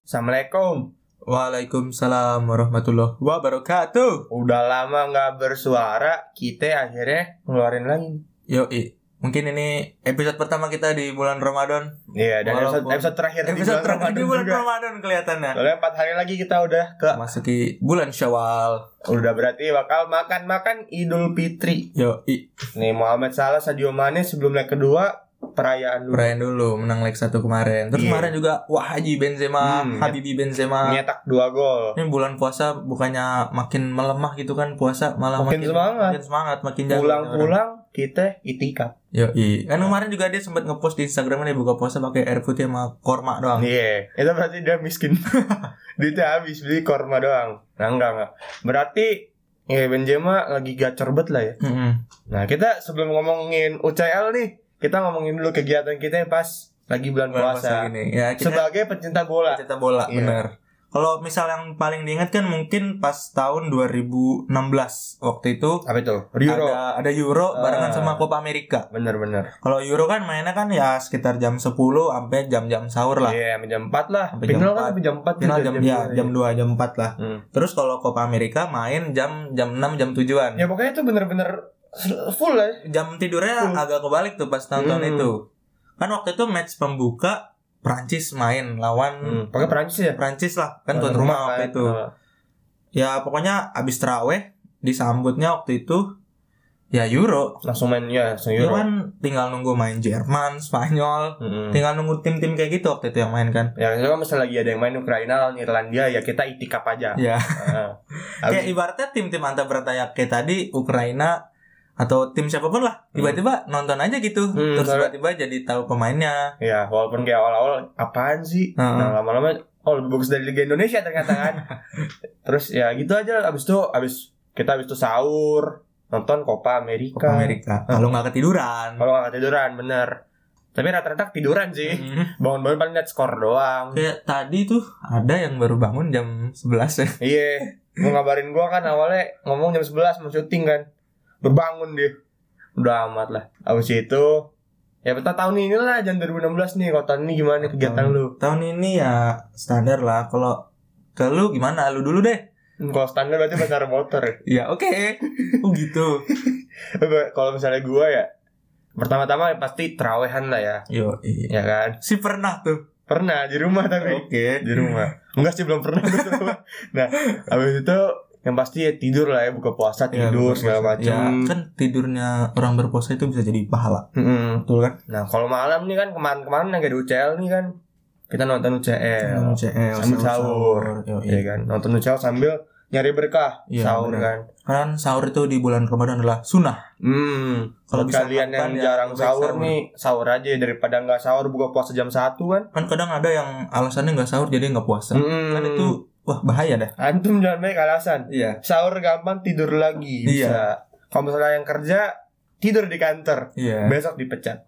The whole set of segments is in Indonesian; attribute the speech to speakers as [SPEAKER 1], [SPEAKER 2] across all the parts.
[SPEAKER 1] Assalamualaikum.
[SPEAKER 2] Waalaikumsalam warahmatullahi wabarakatuh.
[SPEAKER 1] Udah lama nggak bersuara, kita akhirnya ngeluarin lagi.
[SPEAKER 2] Yoi, mungkin ini episode pertama kita di bulan Ramadan.
[SPEAKER 1] Iya, dan
[SPEAKER 2] Walaupun-
[SPEAKER 1] episode, episode terakhir di
[SPEAKER 2] Episode
[SPEAKER 1] bulan
[SPEAKER 2] terakhir di
[SPEAKER 1] Ramadan
[SPEAKER 2] bulan
[SPEAKER 1] juga. Iya.
[SPEAKER 2] Ramadan kelihatannya.
[SPEAKER 1] Soalnya empat hari lagi kita udah ke,
[SPEAKER 2] Masuki bulan Syawal.
[SPEAKER 1] udah berarti bakal makan-makan Idul Fitri.
[SPEAKER 2] Yoi,
[SPEAKER 1] Nih Muhammad Salah Sadio Mane sebelum leg kedua perayaan dulu.
[SPEAKER 2] perayaan dulu menang leg satu kemarin. Terus
[SPEAKER 1] Iya.
[SPEAKER 2] kemarin juga Wahaji Benzema,
[SPEAKER 1] Hmm,
[SPEAKER 2] Habibi Benzema.
[SPEAKER 1] Nyetak dua gol.
[SPEAKER 2] Ini bulan puasa bukannya makin melemah gitu kan puasa malah
[SPEAKER 1] Makin semangat.
[SPEAKER 2] makin semangat, makin jago gitu kan.
[SPEAKER 1] Pulang-pulang kita itikaf.
[SPEAKER 2] Yoi. Kan kemarin juga dia sempat ngepost di Instagramnya dia buka puasa pakai air putih sama korma doang.
[SPEAKER 1] Iya, itu berarti dia miskin. Duitnya habis beli korma doang. Nah, enggak enggak. Berarti ya Benzema lagi gacor bet lah ya.
[SPEAKER 2] Mm-mm.
[SPEAKER 1] Nah, kita sebelum ngomongin UCL nih, kita ngomongin dulu kegiatan kita pas lagi bulan
[SPEAKER 2] Bulan
[SPEAKER 1] puasa.
[SPEAKER 2] gini. Ya, kita
[SPEAKER 1] Sebagai pecinta bola.
[SPEAKER 2] Cetak bola,
[SPEAKER 1] Iya.
[SPEAKER 2] benar. Kalau misal yang paling diingat kan mungkin pas tahun 2016 waktu itu
[SPEAKER 1] Apa itu? Euro.
[SPEAKER 2] ada ada Euro
[SPEAKER 1] Ah.
[SPEAKER 2] barengan sama Copa America.
[SPEAKER 1] Bener-bener.
[SPEAKER 2] Kalau Euro kan mainnya kan ya sekitar jam 10 sampai jam-jam sahur lah.
[SPEAKER 1] Iya, sampai jam 4 lah.
[SPEAKER 2] Sampai jam
[SPEAKER 1] Final kan
[SPEAKER 2] empat.
[SPEAKER 1] sampai jam 4
[SPEAKER 2] Final jam ya, jam 2 jam 4 lah.
[SPEAKER 1] Hmm.
[SPEAKER 2] Terus kalau Copa America main jam jam 6 jam 7-an.
[SPEAKER 1] Ya pokoknya itu bener-bener full lah ya.
[SPEAKER 2] Jam tidurnya
[SPEAKER 1] Full.
[SPEAKER 2] agak kebalik tuh pas nonton
[SPEAKER 1] Hmm.
[SPEAKER 2] itu. Kan waktu itu match pembuka Prancis main lawan
[SPEAKER 1] Hmm. Pakai Perancis ya?
[SPEAKER 2] Prancis lah kan tuan rumah waktu
[SPEAKER 1] kan.
[SPEAKER 2] itu. ya pokoknya abis teraweh disambutnya waktu itu ya Euro.
[SPEAKER 1] Langsung main ya, langsung
[SPEAKER 2] Euro
[SPEAKER 1] Euro. Hmm.
[SPEAKER 2] kan tinggal nunggu main Jerman, Spanyol,
[SPEAKER 1] Mm-mm.
[SPEAKER 2] tinggal nunggu tim-tim kayak gitu waktu itu yang main kan.
[SPEAKER 1] Ya kalau misalnya lagi ada yang main Ukraina lawan Irlandia ya kita itikaf aja. Nah,
[SPEAKER 2] Ya,
[SPEAKER 1] Heeh.
[SPEAKER 2] kayak ibaratnya tim-tim antar bertanya kayak tadi Ukraina atau tim siapapun lah tiba-tiba nonton aja gitu
[SPEAKER 1] Hmm,
[SPEAKER 2] terus
[SPEAKER 1] soalnya-
[SPEAKER 2] tiba-tiba jadi tahu pemainnya
[SPEAKER 1] ya walaupun kayak awal-awal apaan sih?
[SPEAKER 2] Heeh.
[SPEAKER 1] Nah lama-lama oh lebih bagus dari Liga Indonesia ternyata kan. Terus ya gitu aja abis itu abis kita abis itu sahur nonton Copa
[SPEAKER 2] Copa
[SPEAKER 1] America.
[SPEAKER 2] Amerika kalau nggak ketiduran
[SPEAKER 1] Kalau nggak ketiduran bener. Tapi rata-rata tiduran sih.
[SPEAKER 2] Hmm.
[SPEAKER 1] Bangun-bangun paling liat skor doang.
[SPEAKER 2] kayak tadi tuh ada yang baru bangun jam 11 ya
[SPEAKER 1] Iya. Mau ngabarin gua kan awalnya ngomong jam 11 mau syuting kan. Berbangun dia. Udah amat lah. Abis itu ya betah tahun ini lah jam 2016 nih kalau tahun ini gimana nih kegiatan lu
[SPEAKER 2] tahun ini ya standar lah kalau ke lu gimana lu dulu deh
[SPEAKER 1] kalau standar berarti pacar motor ya.
[SPEAKER 2] Ya oke. Oh gitu.
[SPEAKER 1] kalau misalnya gua ya pertama-tama ya pasti terawehan lah ya
[SPEAKER 2] Yo. iya.
[SPEAKER 1] ya kan
[SPEAKER 2] Si pernah tuh.
[SPEAKER 1] pernah di rumah tapi
[SPEAKER 2] Oke.
[SPEAKER 1] di rumah enggak sih belum pernah gua di rumah. nah abis itu yang pasti ya tidur lah ya buka puasa
[SPEAKER 2] Ya,
[SPEAKER 1] tidur
[SPEAKER 2] bukan
[SPEAKER 1] segala
[SPEAKER 2] puasa. Ya,
[SPEAKER 1] macam
[SPEAKER 2] kan tidurnya orang berpuasa itu bisa jadi pahala.
[SPEAKER 1] Mm-mm.
[SPEAKER 2] Betul kan?
[SPEAKER 1] Nah kalau malam nih kan kemarin-kemarin yang ada UCL nih kan kita nonton UCL
[SPEAKER 2] Minum CL,
[SPEAKER 1] sambil Iya. sahur.
[SPEAKER 2] Yo,
[SPEAKER 1] ya kan nonton UCL sambil nyari berkah
[SPEAKER 2] Iya,
[SPEAKER 1] sahur
[SPEAKER 2] benar.
[SPEAKER 1] kan
[SPEAKER 2] Kan sahur itu di bulan Ramadan adalah sunnah.
[SPEAKER 1] hmm kalau
[SPEAKER 2] Kalau bisa
[SPEAKER 1] kalian
[SPEAKER 2] makan
[SPEAKER 1] yang
[SPEAKER 2] ya,
[SPEAKER 1] jarang
[SPEAKER 2] lebih baik
[SPEAKER 1] sahur
[SPEAKER 2] sahur.
[SPEAKER 1] nih sahur aja ya, daripada nggak sahur buka puasa jam satu kan
[SPEAKER 2] Kan kadang ada yang alasannya nggak sahur jadi nggak puasa.
[SPEAKER 1] Mm-mm.
[SPEAKER 2] Kan itu wah bahaya dah.
[SPEAKER 1] antum jangan banyak alasan
[SPEAKER 2] Iya.
[SPEAKER 1] sahur gampang tidur lagi bisa kalau misalnya yang kerja tidur di kantor
[SPEAKER 2] Iya.
[SPEAKER 1] besok dipecat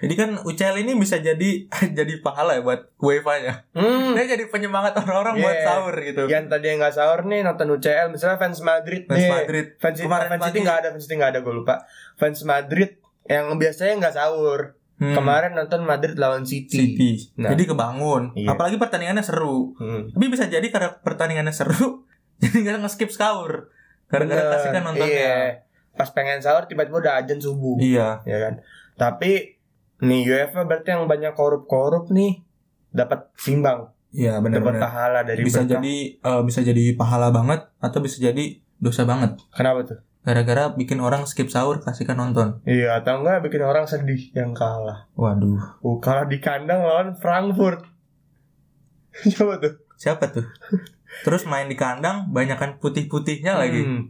[SPEAKER 2] Jadi kan UCL ini bisa jadi jadi pahala ya buat UEFA-nya.
[SPEAKER 1] hmm
[SPEAKER 2] Dia jadi penyemangat orang-orang buat
[SPEAKER 1] Iya.
[SPEAKER 2] sahur gitu.
[SPEAKER 1] yang tadi yang nggak sahur nih nonton UCL misalnya fans Madrid
[SPEAKER 2] Fans
[SPEAKER 1] nih
[SPEAKER 2] Madrid.
[SPEAKER 1] Fans,
[SPEAKER 2] Kemarin
[SPEAKER 1] fans City
[SPEAKER 2] pagi.
[SPEAKER 1] nggak ada, fans City nggak ada, gue lupa. Fans Madrid yang biasanya nggak sahur.
[SPEAKER 2] Hmm.
[SPEAKER 1] Kemarin nonton Madrid lawan City.
[SPEAKER 2] City.
[SPEAKER 1] Nah.
[SPEAKER 2] Jadi kebangun.
[SPEAKER 1] Iya.
[SPEAKER 2] Apalagi pertandingannya seru.
[SPEAKER 1] Hmm.
[SPEAKER 2] Tapi bisa jadi karena pertandingannya seru, jadi nggak nge-skip sahur. Gara-gara kasihkan
[SPEAKER 1] Bener.
[SPEAKER 2] nontonnya.
[SPEAKER 1] Iya. Pas pengen sahur tiba-tiba udah ajan subuh,
[SPEAKER 2] Iya.
[SPEAKER 1] ya kan. Tapi nih UEFA berarti yang banyak korup-korup nih dapat simbang,
[SPEAKER 2] Iya,
[SPEAKER 1] dapat
[SPEAKER 2] benar-benar.
[SPEAKER 1] pahala dari
[SPEAKER 2] Bisa
[SPEAKER 1] berkah.
[SPEAKER 2] jadi eh, bisa jadi pahala banget atau bisa jadi dosa banget.
[SPEAKER 1] Kenapa tuh?
[SPEAKER 2] Gara-gara bikin orang skip sahur kasihkan nonton.
[SPEAKER 1] Iya, atau enggak bikin orang sedih yang kalah.
[SPEAKER 2] Waduh.
[SPEAKER 1] Oh, kalah di kandang lawan Frankfurt. Coba tuh.
[SPEAKER 2] Siapa tuh? Terus main di kandang banyakan putih-putihnya lagi.
[SPEAKER 1] Hmm.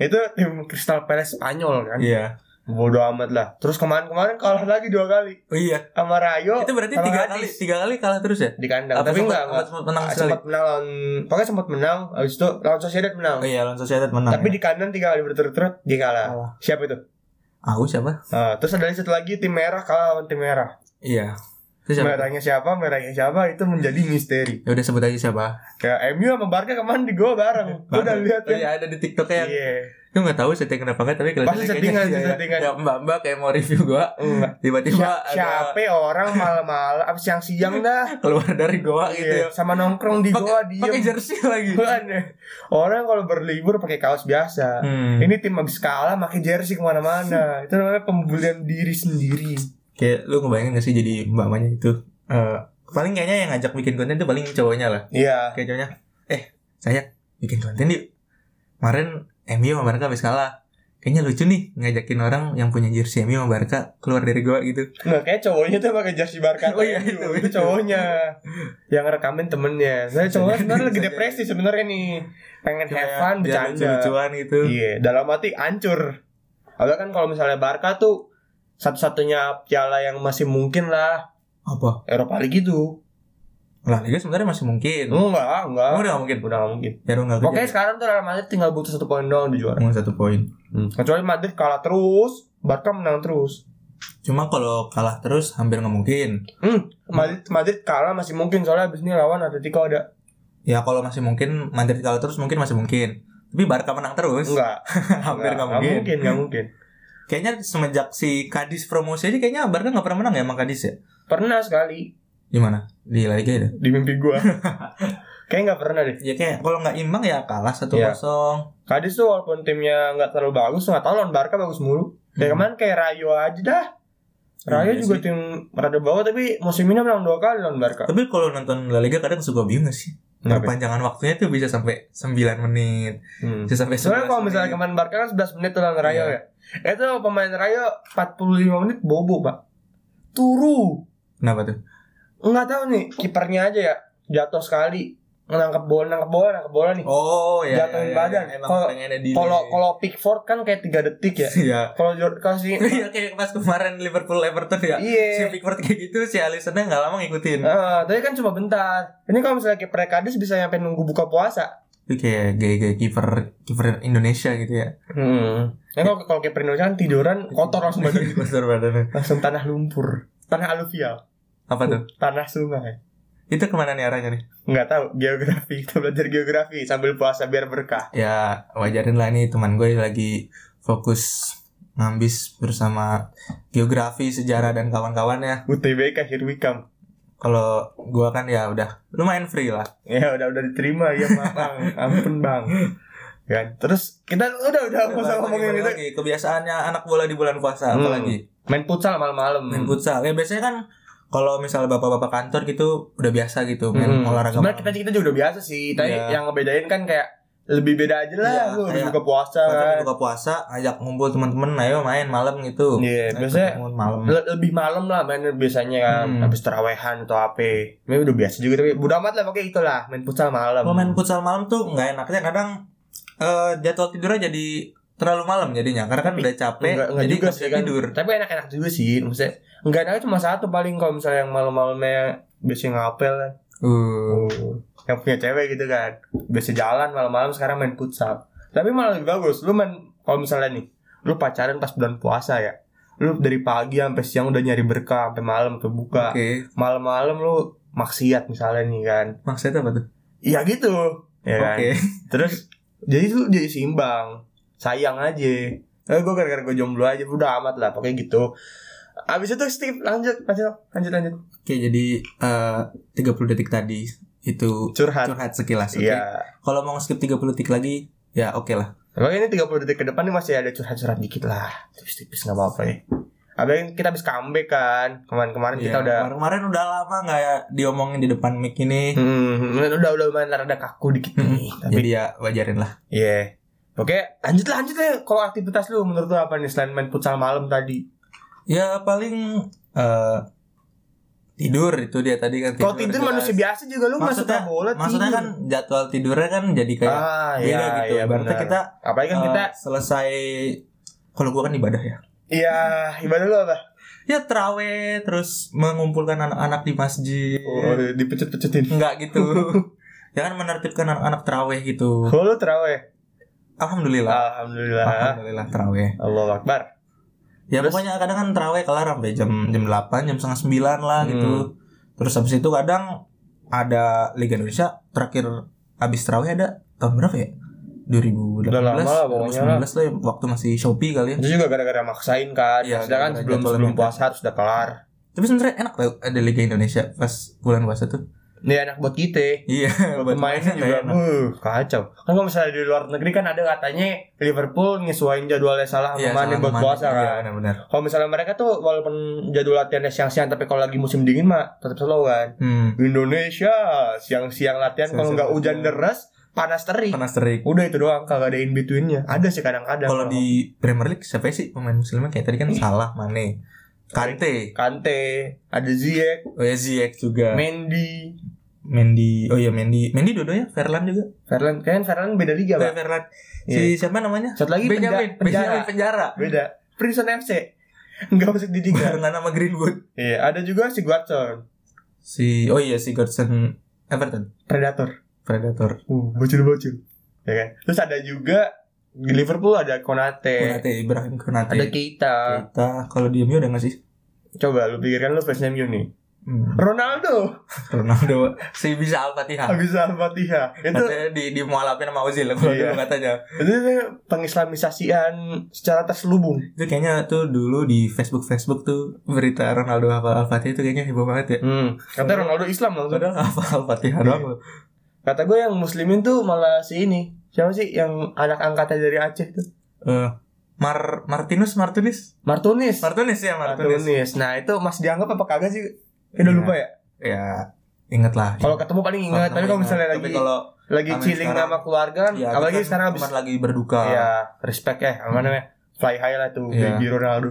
[SPEAKER 1] Itu tim Crystal Palace Spanyol kan.
[SPEAKER 2] Iya.
[SPEAKER 1] Bodo amat lah. Terus kemarin-kemarin kalah lagi dua kali
[SPEAKER 2] Oh iya.
[SPEAKER 1] sama Rayo
[SPEAKER 2] Itu berarti
[SPEAKER 1] sama
[SPEAKER 2] tiga
[SPEAKER 1] Hadis.
[SPEAKER 2] kali tiga kali kalah terus ya?
[SPEAKER 1] di kandang.
[SPEAKER 2] Apa
[SPEAKER 1] Tapi
[SPEAKER 2] sempat-
[SPEAKER 1] enggak
[SPEAKER 2] apa
[SPEAKER 1] enggak.
[SPEAKER 2] sempat menang
[SPEAKER 1] Ah,
[SPEAKER 2] sekali?
[SPEAKER 1] sempat menang lawan pokoknya sempat menang habis itu lawan Sociedad menang.
[SPEAKER 2] Oh iya, lawan Sociedad menang.
[SPEAKER 1] Tapi di kandang tiga kali berturut-turut dia kalah.
[SPEAKER 2] Kalah.
[SPEAKER 1] Siapa itu?
[SPEAKER 2] Aku siapa?
[SPEAKER 1] Ah, terus ada satu lagi tim merah kalah lawan tim merah.
[SPEAKER 2] Iya. Itu siapa?
[SPEAKER 1] Merahnya siapa, merahnya siapa itu menjadi misteri.
[SPEAKER 2] Ya udah sebut aja siapa.
[SPEAKER 1] Kayak MU sama Barca kemarin di gol bareng. Gua udah lihat kan.
[SPEAKER 2] Oh iya, ada di TikTok yang
[SPEAKER 1] Iya.
[SPEAKER 2] Itu nggak tahu setting kenapa nggak tapi
[SPEAKER 1] Pasti settingan sih, settingan.
[SPEAKER 2] Ya, mbak mbak kayak mau review gua
[SPEAKER 1] Enggak.
[SPEAKER 2] tiba-tiba
[SPEAKER 1] Sia-
[SPEAKER 2] ada
[SPEAKER 1] Siapa ya orang malam-malam abis siang-siang dah
[SPEAKER 2] keluar dari goa gitu
[SPEAKER 1] Iya,
[SPEAKER 2] ya.
[SPEAKER 1] sama nongkrong di
[SPEAKER 2] Pakai-
[SPEAKER 1] goa diem.
[SPEAKER 2] Pakai jersey lagi.
[SPEAKER 1] Aneh. Orang kalau berlibur pakai kaos biasa.
[SPEAKER 2] Hmm.
[SPEAKER 1] Ini tim abis kalah pakai jersey kemana-mana. Itu namanya pembulian diri sendiri.
[SPEAKER 2] kayak lu ngebayangin gak sih jadi mbak-mbaknya itu Eh, paling kayaknya yang ngajak bikin konten itu paling cowoknya lah
[SPEAKER 1] Iya.
[SPEAKER 2] kayak cowoknya eh saya bikin konten yuk kemarin MU sama Barca habis kalah kayaknya lucu nih ngajakin orang yang punya jersey MU sama Barca keluar dari gua gitu
[SPEAKER 1] Nah, kayak cowoknya tuh pakai jersey Barca.
[SPEAKER 2] Oh iya,
[SPEAKER 1] itu,
[SPEAKER 2] itu,
[SPEAKER 1] itu cowoknya. Yang rekamin temennya. Saya cowoknya sebenarnya lagi
[SPEAKER 2] Bisa
[SPEAKER 1] depresi sebenarnya nih. Pengen have
[SPEAKER 2] Kayak
[SPEAKER 1] fun,
[SPEAKER 2] biar
[SPEAKER 1] bercanda.
[SPEAKER 2] lucu-lucuan gitu
[SPEAKER 1] Iya, dalam hati hancur. Padahal kan kalau misalnya Barca tuh satu-satunya piala yang masih mungkin lah
[SPEAKER 2] apa
[SPEAKER 1] Eropa League itu.
[SPEAKER 2] lah Liga sebenarnya masih mungkin
[SPEAKER 1] Enggak, enggak.
[SPEAKER 2] Emang udah gak mungkin
[SPEAKER 1] Udah nggak mungkin. Iya.
[SPEAKER 2] biar nggak
[SPEAKER 1] Oh. Oke
[SPEAKER 2] kerja
[SPEAKER 1] sekarang tuh Real Madrid tinggal butuh satu poin doang di juara.
[SPEAKER 2] cuma satu poin
[SPEAKER 1] Kecuali Madrid kalah terus, Barca menang terus.
[SPEAKER 2] cuma kalau kalah terus hampir nggak mungkin
[SPEAKER 1] Hmm, Madrid Madrid kalah masih mungkin soalnya abis ini lawan Atletico ada.
[SPEAKER 2] ya kalau masih mungkin Madrid kalah terus mungkin masih mungkin tapi Barca menang terus
[SPEAKER 1] Enggak,
[SPEAKER 2] hampir nggak mungkin
[SPEAKER 1] mungkin, nggak mungkin.
[SPEAKER 2] Kayaknya semenjak si Kadis promosi aja kayaknya Barca nggak pernah menang ya emang Kadis ya?
[SPEAKER 1] Pernah sekali
[SPEAKER 2] Di mana? Di La Liga ya?
[SPEAKER 1] di mimpi gua. Kayak nggak pernah deh.
[SPEAKER 2] Ya kayak kalau nggak imbang ya kalah 1-0.
[SPEAKER 1] Iya. Kadis tuh walaupun timnya nggak terlalu bagus, nggak tahu lawan Barca bagus mulu. Kayak
[SPEAKER 2] Hmm.
[SPEAKER 1] kemarin kayak Rayo aja dah. Rayo
[SPEAKER 2] Iya
[SPEAKER 1] juga
[SPEAKER 2] sih.
[SPEAKER 1] tim rada bawah tapi musim ini menang dua kali lawan Barca.
[SPEAKER 2] Tapi kalau nonton La Liga kadang suka bingung nggak sih.
[SPEAKER 1] Kenapa?
[SPEAKER 2] Perpanjangan waktunya tuh bisa sampai 9 menit,
[SPEAKER 1] Hmm.
[SPEAKER 2] bisa sampai 11
[SPEAKER 1] Soalnya kalau misalnya
[SPEAKER 2] menit.
[SPEAKER 1] kemarin Barca kan 11 menit tuh lawan Rayo
[SPEAKER 2] Iya.
[SPEAKER 1] ya. Itu pemain Rayo 45 menit bobo, Pak. Turu.
[SPEAKER 2] Kenapa tuh?
[SPEAKER 1] Enggak tahu nih, kipernya aja ya jatuh sekali. Nangkep bola, nangkep bola, nangkep bola nih.
[SPEAKER 2] Oh, iya. ya.
[SPEAKER 1] Jatuhin
[SPEAKER 2] ya, ya,
[SPEAKER 1] badan.
[SPEAKER 2] Emang
[SPEAKER 1] Kalau-
[SPEAKER 2] pengennya di
[SPEAKER 1] Kalau kalau Pickford kan kayak 3 detik ya.
[SPEAKER 2] Iya.
[SPEAKER 1] Kalau Jordan kasih
[SPEAKER 2] Iya kayak pas kemarin Liverpool Everton ya. Si
[SPEAKER 1] Iya.
[SPEAKER 2] Pickford kayak gitu, si Alisonnya nggak lama ngikutin.
[SPEAKER 1] Eh, tapi kan cuma bentar. Ini kalau misalnya kiper Kadis bisa nyampe nunggu buka puasa.
[SPEAKER 2] Itu kayak gaya-gaya kiper kiper Indonesia gitu ya.
[SPEAKER 1] Hmm. Ya kalau kalau kiper Indonesia kan tiduran kotor langsung badannya.
[SPEAKER 2] Kotor badannya.
[SPEAKER 1] langsung tanah lumpur, tanah aluvial,
[SPEAKER 2] Apa tuh?
[SPEAKER 1] tanah sungai.
[SPEAKER 2] Itu kemana nih arahnya nih?
[SPEAKER 1] nggak tahu geografi kita belajar geografi sambil puasa biar berkah
[SPEAKER 2] ya wajarin lah ini teman gue lagi fokus ngambis bersama geografi sejarah dan kawan-kawannya
[SPEAKER 1] UTBK here we come
[SPEAKER 2] kalau gue kan ya udah lumayan free lah
[SPEAKER 1] ya udah udah diterima ya maaf bang ampun bang kan terus kita udah udah nggak usah
[SPEAKER 2] Balik
[SPEAKER 1] ngomongin
[SPEAKER 2] lagi,
[SPEAKER 1] itu
[SPEAKER 2] balik lagi. kebiasaannya anak bola di bulan puasa
[SPEAKER 1] Hmm.
[SPEAKER 2] apalagi
[SPEAKER 1] main futsal malam-malam
[SPEAKER 2] main futsal ya biasanya kan kalau misal bapak-bapak kantor gitu udah biasa gitu main
[SPEAKER 1] Hmm.
[SPEAKER 2] olahraga
[SPEAKER 1] sebenarnya kita
[SPEAKER 2] malam.
[SPEAKER 1] kita juga udah biasa sih tapi
[SPEAKER 2] Iya.
[SPEAKER 1] yang ngebedain kan kayak lebih beda aja lah
[SPEAKER 2] Iya,
[SPEAKER 1] lu udah
[SPEAKER 2] kayak-
[SPEAKER 1] buka puasa
[SPEAKER 2] Waktu
[SPEAKER 1] kan
[SPEAKER 2] buka puasa ajak ngumpul teman-teman ayo main malam gitu
[SPEAKER 1] Iya,
[SPEAKER 2] Ayo
[SPEAKER 1] biasanya
[SPEAKER 2] ketemu malam
[SPEAKER 1] Le- lebih malam lah main biasanya kan
[SPEAKER 2] Hmm.
[SPEAKER 1] habis terawehan atau apa ini udah biasa juga tapi bodo amat lah pakai itulah main futsal malam
[SPEAKER 2] Kalau main futsal malam tuh nggak enaknya kadang eh, jadwal tidurnya jadi terlalu malam jadinya karena kan
[SPEAKER 1] Tapi,
[SPEAKER 2] udah capek
[SPEAKER 1] Enggak, enggak
[SPEAKER 2] jadi
[SPEAKER 1] juga
[SPEAKER 2] nggak
[SPEAKER 1] sih
[SPEAKER 2] bisa
[SPEAKER 1] kan.
[SPEAKER 2] tidur.
[SPEAKER 1] Tapi enak-enak juga sih. Maksudnya enggak enaknya cuma satu paling kalau misalnya yang malam-malamnya biasanya ngapel kan.
[SPEAKER 2] Uh,
[SPEAKER 1] Yang punya cewek gitu kan. Biasa jalan malam-malam sekarang main futsal. Tapi malah lebih bagus. Lu main kalau misalnya nih, lu pacaran pas bulan puasa ya. Lu dari pagi sampai siang udah nyari berkah sampai malam tuh
[SPEAKER 2] Oke,
[SPEAKER 1] buka. Malam-malam lu maksiat misalnya nih kan.
[SPEAKER 2] maksudnya apa tuh?
[SPEAKER 1] Iya gitu. Ya
[SPEAKER 2] Oke,
[SPEAKER 1] kan? Terus jadi tuh jadi seimbang. Sayang aja. Eh, gue gara-gara gue jomblo aja udah amat lah pokoknya gitu. Abis itu skip lanjut lanjut lanjut lanjut
[SPEAKER 2] oke jadi eh 30 detik tadi itu
[SPEAKER 1] curhat.
[SPEAKER 2] curhat sekilas. oke.
[SPEAKER 1] Iya.
[SPEAKER 2] Kalau mau skip 30 detik lagi ya oke lah.
[SPEAKER 1] Pokoknya ini 30 detik ke depan nih masih ada curhat-curhat dikit lah. Tipis-tipis nggak apa-apa ya. Abang kita habis comeback kan. Kemarin-kemarin kita
[SPEAKER 2] Iya,
[SPEAKER 1] udah
[SPEAKER 2] kemarin udah lama nggak ya diomongin di depan mic ini.
[SPEAKER 1] Hmm, udah udah lumayan rada kaku dikit nih. Tapi
[SPEAKER 2] Jadi ya wajarin lah.
[SPEAKER 1] iya. Oke, lanjut lah, lanjut lah. Kalau aktivitas lu menurut lu apa nih selain main futsal malam tadi?
[SPEAKER 2] Ya paling eh tidur itu dia tadi kan
[SPEAKER 1] Kalau tidur
[SPEAKER 2] jelas.
[SPEAKER 1] manusia biasa juga lu nggak suka
[SPEAKER 2] Maksudnya-
[SPEAKER 1] bola
[SPEAKER 2] Maksudnya
[SPEAKER 1] tidur.
[SPEAKER 2] kan jadwal tidurnya kan jadi kayak
[SPEAKER 1] ah,
[SPEAKER 2] beda gitu. Berarti
[SPEAKER 1] benar.
[SPEAKER 2] kita
[SPEAKER 1] apalagi kan
[SPEAKER 2] eh,
[SPEAKER 1] kita
[SPEAKER 2] selesai kalau gua kan ibadah ya.
[SPEAKER 1] iya ibadah lu apa?
[SPEAKER 2] Ya terawih terus mengumpulkan anak-anak di masjid.
[SPEAKER 1] Oh, dipecut-pecutin.
[SPEAKER 2] Enggak gitu. Jangan menertibkan anak-anak terawih gitu.
[SPEAKER 1] Kalau Oh, lu terawih,
[SPEAKER 2] Alhamdulillah.
[SPEAKER 1] alhamdulillah.
[SPEAKER 2] Alhamdulillah terawih.
[SPEAKER 1] Allah Akbar.
[SPEAKER 2] Ya
[SPEAKER 1] Terus?
[SPEAKER 2] pokoknya kadang kan terawih kelar sampai jam jam 8, jam setengah 9 lah
[SPEAKER 1] Hmm.
[SPEAKER 2] gitu. Terus habis itu kadang ada Liga Indonesia terakhir habis terawih ada tahun berapa ya? 2018
[SPEAKER 1] Udah lama lah pokoknya
[SPEAKER 2] 2019 lah ya, waktu masih Shopee kali ya
[SPEAKER 1] Itu juga gara-gara maksain kan.
[SPEAKER 2] Iya,
[SPEAKER 1] Sedangkan
[SPEAKER 2] gara-gara
[SPEAKER 1] sebelum
[SPEAKER 2] jadwal
[SPEAKER 1] sebelum
[SPEAKER 2] minta.
[SPEAKER 1] puasa harus udah kelar.
[SPEAKER 2] tapi sebenarnya enak tau ada Liga Indonesia pas bulan puasa tuh
[SPEAKER 1] Ini enak buat kita.
[SPEAKER 2] iya buat
[SPEAKER 1] Pemainnya
[SPEAKER 2] pemainnya
[SPEAKER 1] juga
[SPEAKER 2] enak.
[SPEAKER 1] uh, kacau. Kan kalau misalnya di luar negeri kan ada katanya Liverpool nyesuaiin jadwalnya salah
[SPEAKER 2] Iya,
[SPEAKER 1] sama Mane
[SPEAKER 2] sama
[SPEAKER 1] buat
[SPEAKER 2] Mane.
[SPEAKER 1] puasa
[SPEAKER 2] Iya,
[SPEAKER 1] kan.
[SPEAKER 2] benar-benar
[SPEAKER 1] Kalau misalnya mereka tuh walaupun jadwal latihannya siang-siang tapi kalau lagi musim dingin mah tetap slow kan.
[SPEAKER 2] hmm.
[SPEAKER 1] Indonesia siang-siang latihan kalau
[SPEAKER 2] Siang-siang
[SPEAKER 1] nggak hujan
[SPEAKER 2] latihan.
[SPEAKER 1] deras panas terik.
[SPEAKER 2] panas terik
[SPEAKER 1] Udah itu doang kagak ada in betweennya. Ada sih kadang-kadang.
[SPEAKER 2] kalau di Premier League siapa sih pemain muslimnya kayak tadi kan Salah Mane Kante
[SPEAKER 1] Kante, ada Ziyech,
[SPEAKER 2] oh ya Ziyech juga
[SPEAKER 1] Mendy,
[SPEAKER 2] Mendy oh iya Mendy Mendy dua-duanya Verlan juga
[SPEAKER 1] Ferland. Kayaknya Ferland beda liga,
[SPEAKER 2] Kayak
[SPEAKER 1] Pak.
[SPEAKER 2] Verlan
[SPEAKER 1] Iya.
[SPEAKER 2] si siapa namanya
[SPEAKER 1] Satu lagi penja-
[SPEAKER 2] Benjamin
[SPEAKER 1] penjara.
[SPEAKER 2] Benjamin penjara
[SPEAKER 1] Beda. Prison FC. Enggak masuk di tiga.
[SPEAKER 2] barengan sama Greenwood
[SPEAKER 1] Iya, ada juga si Guardson,
[SPEAKER 2] si oh iya si Godson Everton
[SPEAKER 1] Predator.
[SPEAKER 2] Predator
[SPEAKER 1] Uh, bocil-bocil. Ya kan? Terus ada juga di Liverpool ada Konate,
[SPEAKER 2] Konate Ibrahim Konate
[SPEAKER 1] ada Keita.
[SPEAKER 2] kita kalau di MU ada nggak sih
[SPEAKER 1] Coba lu pikirkan lu fansnya MU nih.
[SPEAKER 2] hmm.
[SPEAKER 1] Ronaldo
[SPEAKER 2] Ronaldo si bisa Al-Fatihah
[SPEAKER 1] habis Al-Fatihah. Itu
[SPEAKER 2] katanya di dimualafin sama Ozil kalau
[SPEAKER 1] Iya.
[SPEAKER 2] dulu katanya
[SPEAKER 1] itu pengislamisasian secara terselubung.
[SPEAKER 2] itu kayaknya tuh dulu di Facebook Facebook tuh berita Ronaldo hafal Al-Fatihah itu kayaknya heboh banget ya
[SPEAKER 1] Hmm. Kata Ronaldo Islam langsung.
[SPEAKER 2] padahal hafal Al-Fatihah
[SPEAKER 1] Iya.
[SPEAKER 2] doang loh
[SPEAKER 1] Kata gue yang muslimin tuh malah si ini. Siapa sih yang anak angkatnya dari Aceh tuh?
[SPEAKER 2] Eh, Mar Martinus Martinus
[SPEAKER 1] Martunis.
[SPEAKER 2] Martinus ya Martinus
[SPEAKER 1] Martunis. Nah, itu Mas dianggap apa kagak sih? Ya, udah
[SPEAKER 2] Iya.
[SPEAKER 1] lupa ya.
[SPEAKER 2] ya inget lah
[SPEAKER 1] Kalau ketemu paling ingat, tapi kalau misalnya
[SPEAKER 2] Tapi
[SPEAKER 1] lagi
[SPEAKER 2] kalau
[SPEAKER 1] lagi
[SPEAKER 2] Amin
[SPEAKER 1] chilling
[SPEAKER 2] sekarang.
[SPEAKER 1] sama keluarga kan,
[SPEAKER 2] ya,
[SPEAKER 1] apalagi
[SPEAKER 2] kan
[SPEAKER 1] sekarang habis
[SPEAKER 2] teman lagi berduka
[SPEAKER 1] ya respect eh apa
[SPEAKER 2] Hmm.
[SPEAKER 1] namanya? Fly high lah tuh
[SPEAKER 2] Iya.
[SPEAKER 1] baby Ronaldo.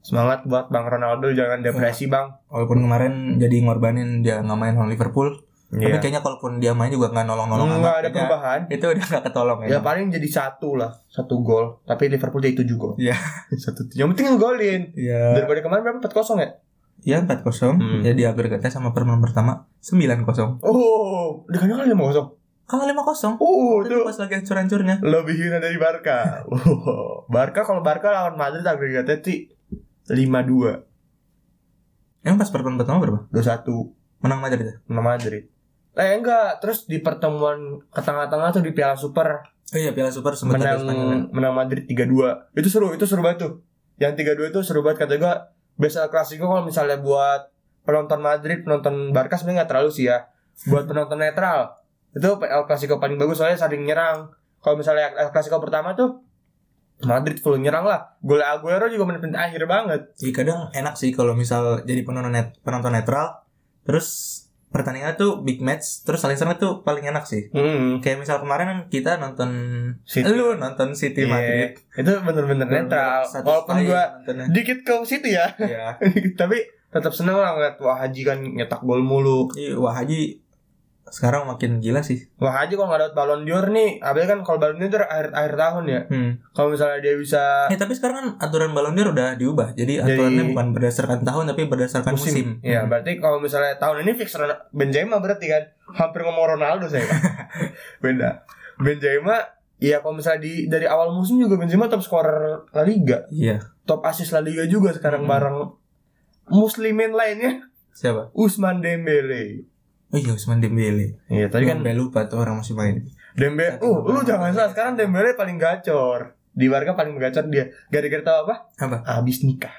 [SPEAKER 1] Semangat buat Bang Ronaldo jangan depresi, Bang.
[SPEAKER 2] walaupun kemarin jadi ngorbanin dia nggak main sama Liverpool tapi
[SPEAKER 1] Iya.
[SPEAKER 2] kayaknya kalaupun dia main juga nggak nolong-nolong
[SPEAKER 1] Enggak ada
[SPEAKER 2] Kayaknya
[SPEAKER 1] perubahan.
[SPEAKER 2] itu udah nggak ketolong ya,
[SPEAKER 1] Ya paling jadi satu lah, satu gol. Tapi Liverpool jadi tujuh gol.
[SPEAKER 2] Iya.
[SPEAKER 1] satu. Yang penting ngegolin.
[SPEAKER 2] ya
[SPEAKER 1] Daripada kemarin berapa 4-0 ya?
[SPEAKER 2] ya empat kosong
[SPEAKER 1] Hmm.
[SPEAKER 2] ya di agregatnya sama permen pertama sembilan kosong
[SPEAKER 1] Oh, udah kan lima kosong.
[SPEAKER 2] kalau lima kosong
[SPEAKER 1] Oh,
[SPEAKER 2] itu
[SPEAKER 1] itu
[SPEAKER 2] pas lagi hancur-hancurnya
[SPEAKER 1] lebih hina dari Barca. Wow. Barca kalau Barca lawan Madrid agregatnya sih lima dua,
[SPEAKER 2] emang pas permen pertama berapa
[SPEAKER 1] dua satu
[SPEAKER 2] menang Madrid ya
[SPEAKER 1] sama Madrid. Eh enggak, terus di pertemuan ke tengah-tengah tuh di Piala Super
[SPEAKER 2] oh iya Piala Super sempat
[SPEAKER 1] menang
[SPEAKER 2] ada Spanyol ya.
[SPEAKER 1] menang Madrid 3-2. Itu seru, itu seru banget tuh. Yang 3-2 itu seru banget kata gua. Biasa klasiko kalau misalnya buat penonton Madrid, penonton Barca sebenarnya nggak terlalu sih ya. Buat penonton netral itu El Clasico paling bagus soalnya saling nyerang. Kalau misalnya El Clasico pertama tuh Madrid full nyerang lah. Gol Aguero juga menit akhir banget.
[SPEAKER 2] Jadi kadang enak sih kalau misal jadi penonton net, penonton netral terus pertandingan tuh big match terus saling serang tuh paling enak sih
[SPEAKER 1] Hmm.
[SPEAKER 2] kayak misal kemarin kan kita nonton
[SPEAKER 1] City.
[SPEAKER 2] lu nonton City
[SPEAKER 1] Iya,
[SPEAKER 2] Madrid
[SPEAKER 1] Itu bener-bener netral.
[SPEAKER 2] Satu
[SPEAKER 1] Walaupun
[SPEAKER 2] style
[SPEAKER 1] gua
[SPEAKER 2] nontonnya.
[SPEAKER 1] dikit ke situ ya,
[SPEAKER 2] Iya.
[SPEAKER 1] tapi tetap seneng lah ngeliat Wah Haji kan nyetak gol mulu.
[SPEAKER 2] Jadi, Wah Haji sekarang makin gila sih.
[SPEAKER 1] Wah Haji kalau nggak dapat balon d'Or nih, abis kan kalau balon d'Or akhir akhir tahun ya. Kalau misalnya dia bisa
[SPEAKER 2] Eh, tapi sekarang kan aturan Ballon d'Or udah diubah. Jadi
[SPEAKER 1] Jadi-
[SPEAKER 2] aturannya bukan berdasarkan tahun tapi berdasarkan musim. Hmm.
[SPEAKER 1] Ya, berarti kalau misalnya tahun ini fix Ron- Benzema berarti kan hampir ngomong Ronaldo saya. Beda. Benzema Iya kalau misalnya di dari awal musim juga Benzema top scorer La Liga,
[SPEAKER 2] Iya.
[SPEAKER 1] top asis La Liga juga sekarang
[SPEAKER 2] Hmm.
[SPEAKER 1] bareng muslimin lainnya
[SPEAKER 2] Siapa?
[SPEAKER 1] Usman Dembele.
[SPEAKER 2] Oh iya Usman Dembele.
[SPEAKER 1] Iya,
[SPEAKER 2] Tadi
[SPEAKER 1] tadi kan
[SPEAKER 2] lupa tuh orang masih main.
[SPEAKER 1] Dembele, uh, lu jangan salah sekarang Dembele paling gacor. Di Barca paling gacor dia. Gara-gara tahu apa?
[SPEAKER 2] Apa?
[SPEAKER 1] Habis nikah.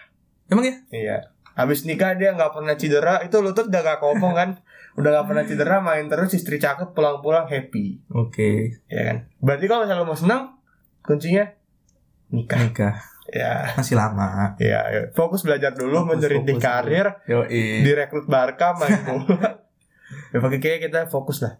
[SPEAKER 2] Emang ya?
[SPEAKER 1] Iya. Habis nikah dia nggak pernah cedera, itu lutut udah gak kopong kan. udah gak pernah cedera, main terus istri cakep pulang-pulang happy.
[SPEAKER 2] Oke.
[SPEAKER 1] Ya kan? Berarti kalau misalnya lo mau senang, kuncinya nikah.
[SPEAKER 2] Nikah
[SPEAKER 1] Ya.
[SPEAKER 2] masih lama.
[SPEAKER 1] Ya, ya. fokus belajar dulu
[SPEAKER 2] Fokus,
[SPEAKER 1] menjerinti
[SPEAKER 2] fokus dulu. Iya.
[SPEAKER 1] karir,
[SPEAKER 2] Yo
[SPEAKER 1] direkrut Barca main bola. ya pakai kayak kita fokus lah.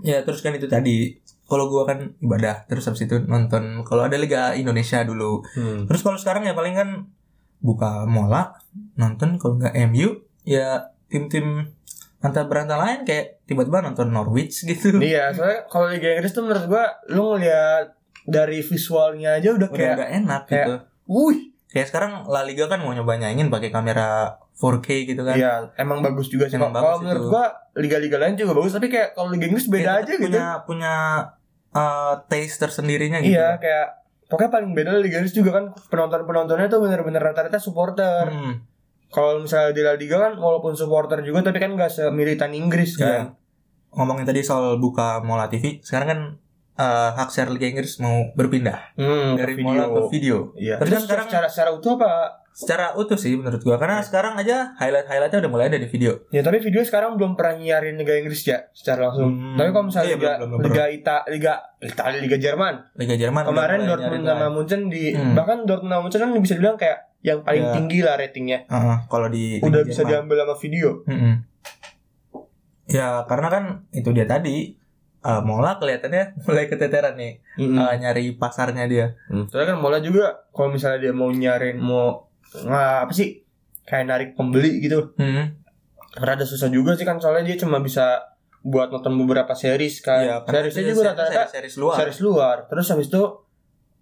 [SPEAKER 2] Ya terus kan itu tadi. Kalau gua kan ibadah terus habis itu nonton kalau ada Liga Indonesia dulu Terus kalau sekarang ya paling kan buka mola, nonton kalau nggak MU ya tim-tim antar berantah lain kayak tiba-tiba nonton Norwich gitu.
[SPEAKER 1] Iya, soalnya kalau Liga Inggris tuh menurut gua lu ngeliat dari visualnya aja udah
[SPEAKER 2] Udah
[SPEAKER 1] kayak
[SPEAKER 2] nggak enak
[SPEAKER 1] kayak-
[SPEAKER 2] gitu.
[SPEAKER 1] wuih.
[SPEAKER 2] Kayak sekarang La Liga kan mau nyoba nyaingin pakai kamera 4K gitu kan.
[SPEAKER 1] Iya, emang bagus juga sih.
[SPEAKER 2] Emang
[SPEAKER 1] Kalau
[SPEAKER 2] bagus
[SPEAKER 1] menurut
[SPEAKER 2] itu.
[SPEAKER 1] gua liga-liga lain juga bagus, tapi kayak kalau Liga Inggris
[SPEAKER 2] Kayak
[SPEAKER 1] beda
[SPEAKER 2] tetap
[SPEAKER 1] aja gitu.
[SPEAKER 2] Punya punya eh, taste tersendirinya gitu.
[SPEAKER 1] Iya, kayak pokoknya paling beda Liga Inggris juga kan penonton-penontonnya tuh bener-bener rata-rata supporter.
[SPEAKER 2] Hmm.
[SPEAKER 1] Kalau misalnya di La Liga kan walaupun supporter juga tapi kan gak semilitan Inggris
[SPEAKER 2] Iya.
[SPEAKER 1] kan.
[SPEAKER 2] Ngomongin tadi soal buka mola TV, sekarang kan eh, hak share Liga Inggris mau berpindah
[SPEAKER 1] Hmm,
[SPEAKER 2] dari
[SPEAKER 1] video.
[SPEAKER 2] mola ke video.
[SPEAKER 1] Iya.
[SPEAKER 2] Tapi
[SPEAKER 1] Terus
[SPEAKER 2] kan sekarang-
[SPEAKER 1] secara secara utuh apa?
[SPEAKER 2] Secara utuh sih menurut gua karena
[SPEAKER 1] Iya.
[SPEAKER 2] sekarang aja highlight-highlightnya udah mulai ada di video.
[SPEAKER 1] Ya tapi video sekarang belum pernah nyiarin Liga Inggris ya secara langsung.
[SPEAKER 2] Hmm,
[SPEAKER 1] Tapi kalau misalnya
[SPEAKER 2] iya,
[SPEAKER 1] Liga,
[SPEAKER 2] belum, belum, belum.
[SPEAKER 1] Liga Ita, Liga Italia, Liga Jerman,
[SPEAKER 2] Liga Jerman udah
[SPEAKER 1] kemarin
[SPEAKER 2] mulai
[SPEAKER 1] Dortmund
[SPEAKER 2] nyari
[SPEAKER 1] sama
[SPEAKER 2] line.
[SPEAKER 1] Munchen di
[SPEAKER 2] Hmm.
[SPEAKER 1] bahkan Dortmund sama Munchen kan bisa dibilang kayak yang paling
[SPEAKER 2] Ya.
[SPEAKER 1] tinggi lah ratingnya.
[SPEAKER 2] Heeh, kalau di Iya, Liga
[SPEAKER 1] Udah bisa
[SPEAKER 2] Jerman.
[SPEAKER 1] diambil sama video.
[SPEAKER 2] Mm-mm. Ya karena kan itu dia tadi eh, mola kelihatannya mulai keteteran nih eh, nyari pasarnya dia.
[SPEAKER 1] Hmm. Soalnya kan Mola juga kalau misalnya dia mau nyarin mau nah, apa sih kayak narik pembeli gitu.
[SPEAKER 2] Hmm.
[SPEAKER 1] Rada susah juga sih kan soalnya dia cuma bisa buat nonton beberapa series kan.
[SPEAKER 2] Ya, karena
[SPEAKER 1] Seriesnya
[SPEAKER 2] itu
[SPEAKER 1] juga
[SPEAKER 2] seri-
[SPEAKER 1] rata-rata
[SPEAKER 2] series luar.
[SPEAKER 1] series luar. Terus habis itu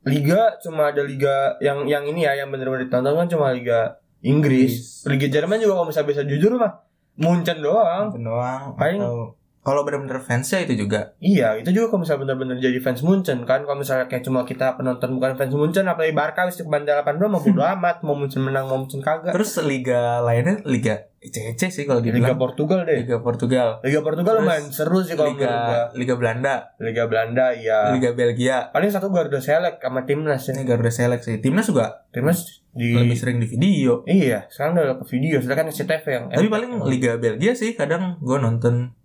[SPEAKER 1] liga cuma ada liga yang yang ini ya yang benar-benar ditonton kan cuma liga Inggris. Liga Jerman juga kalau misalnya bisa jujur mah Munchen doang.
[SPEAKER 2] Nonton doang.
[SPEAKER 1] Oh. Paling-
[SPEAKER 2] atau kalau benar-benar fansnya itu juga.
[SPEAKER 1] Iya, itu juga kalau misalnya benar-benar jadi fans Munchen kan. Kalau misalnya kayak cuma kita penonton bukan fans Munchen apalagi Barca wis ke bandar 82 mau bodo amat, mau Munchen menang mau Munchen kagak.
[SPEAKER 2] Terus liga lainnya liga ICC sih kalau
[SPEAKER 1] Liga
[SPEAKER 2] dibilang.
[SPEAKER 1] Portugal deh.
[SPEAKER 2] Liga Portugal,
[SPEAKER 1] Liga Portugal
[SPEAKER 2] Iya. Terus
[SPEAKER 1] lumayan seru sih kalau
[SPEAKER 2] Liga
[SPEAKER 1] menurut gua.
[SPEAKER 2] Liga Belanda,
[SPEAKER 1] Liga Belanda ya.
[SPEAKER 2] Liga Belgia.
[SPEAKER 1] Paling satu Garuda Select sama timnas ya.
[SPEAKER 2] Ini Garuda Select sih. Timnas juga
[SPEAKER 1] Timnas di
[SPEAKER 2] lebih sering di video.
[SPEAKER 1] Iya, sekarang udah ke video, sudah kan SCTV yang
[SPEAKER 2] Tapi paling Liga Belgia sih kadang gue nonton